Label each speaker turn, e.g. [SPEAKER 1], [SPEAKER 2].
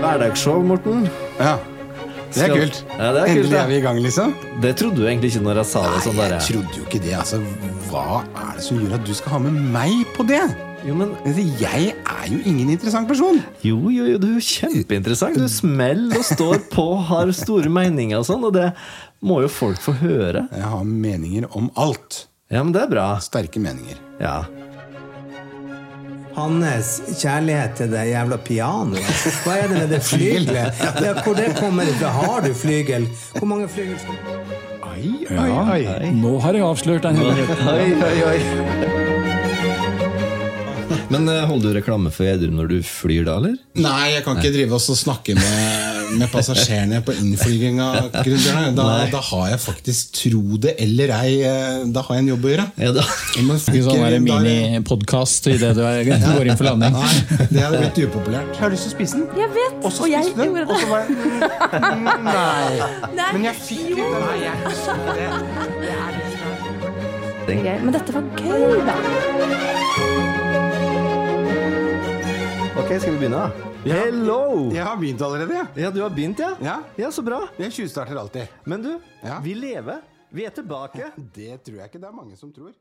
[SPEAKER 1] hverdagsshow, Morten.
[SPEAKER 2] Ja. Det er
[SPEAKER 1] Skal-
[SPEAKER 2] kult.
[SPEAKER 1] Ja, det er kult,
[SPEAKER 2] Endelig
[SPEAKER 1] da.
[SPEAKER 2] er vi i gang, liksom.
[SPEAKER 1] Det trodde du egentlig ikke når jeg sa det sånn.
[SPEAKER 2] Nei,
[SPEAKER 1] der
[SPEAKER 2] jeg trodde jo ikke det. Altså, hva er det som gjør at du skal ha med meg på det?
[SPEAKER 1] Jo, men
[SPEAKER 2] Altså, Jeg er jo ingen interessant person.
[SPEAKER 1] jo, jo, jo, du er jo kjempeinteressant. Du smeller og står på, har store meninger og sånn, og det må jo folk få høre.
[SPEAKER 2] Jeg har meninger om alt.
[SPEAKER 1] Ja, men det er bra.
[SPEAKER 2] Sterke meninger.
[SPEAKER 1] Ja.
[SPEAKER 3] Hans kjærlighet til det jævla pianoet. Hva er det med det flygelet? Ja, hvor det kommer fra? Har du flygel? Hvor mange flygel skal du
[SPEAKER 2] Oi,
[SPEAKER 4] Ja, Nå har jeg avslørt den hemmeligheten.
[SPEAKER 1] Oi, oi, oi. Men eh, holder du reklame for edru når du flyr da, eller?
[SPEAKER 2] Nei, jeg kan ikke drive oss og snakke med, med passasjerene på innflyginga. gründerne. Da, da har jeg faktisk, tro det eller ei, eh, da har jeg en jobb å gjøre.
[SPEAKER 1] Ja, da.
[SPEAKER 2] Jeg må
[SPEAKER 4] Ikke sånn
[SPEAKER 2] ikke-
[SPEAKER 4] der
[SPEAKER 2] da er det-
[SPEAKER 4] minipodkast idet du er- går inn for landing.
[SPEAKER 2] Nei, det hadde blitt upopulært. Har du lyst til å spise den?
[SPEAKER 5] Jeg vet, og, jeg gjorde det.
[SPEAKER 2] var jeg Nei.
[SPEAKER 5] Nei, jo. Gøy, Men dette var gøy, da.
[SPEAKER 1] Ok, skal vi begynne, da? Hello!
[SPEAKER 2] Jeg har begynt allerede, jeg.
[SPEAKER 1] Ja, du har begynt, ja?
[SPEAKER 2] Ja.
[SPEAKER 1] ja så bra.
[SPEAKER 2] Jeg tjuvstarter alltid.
[SPEAKER 1] Men du,
[SPEAKER 2] Ja.
[SPEAKER 1] vi lever. Vi er tilbake.
[SPEAKER 2] Det tror jeg ikke det er mange som tror.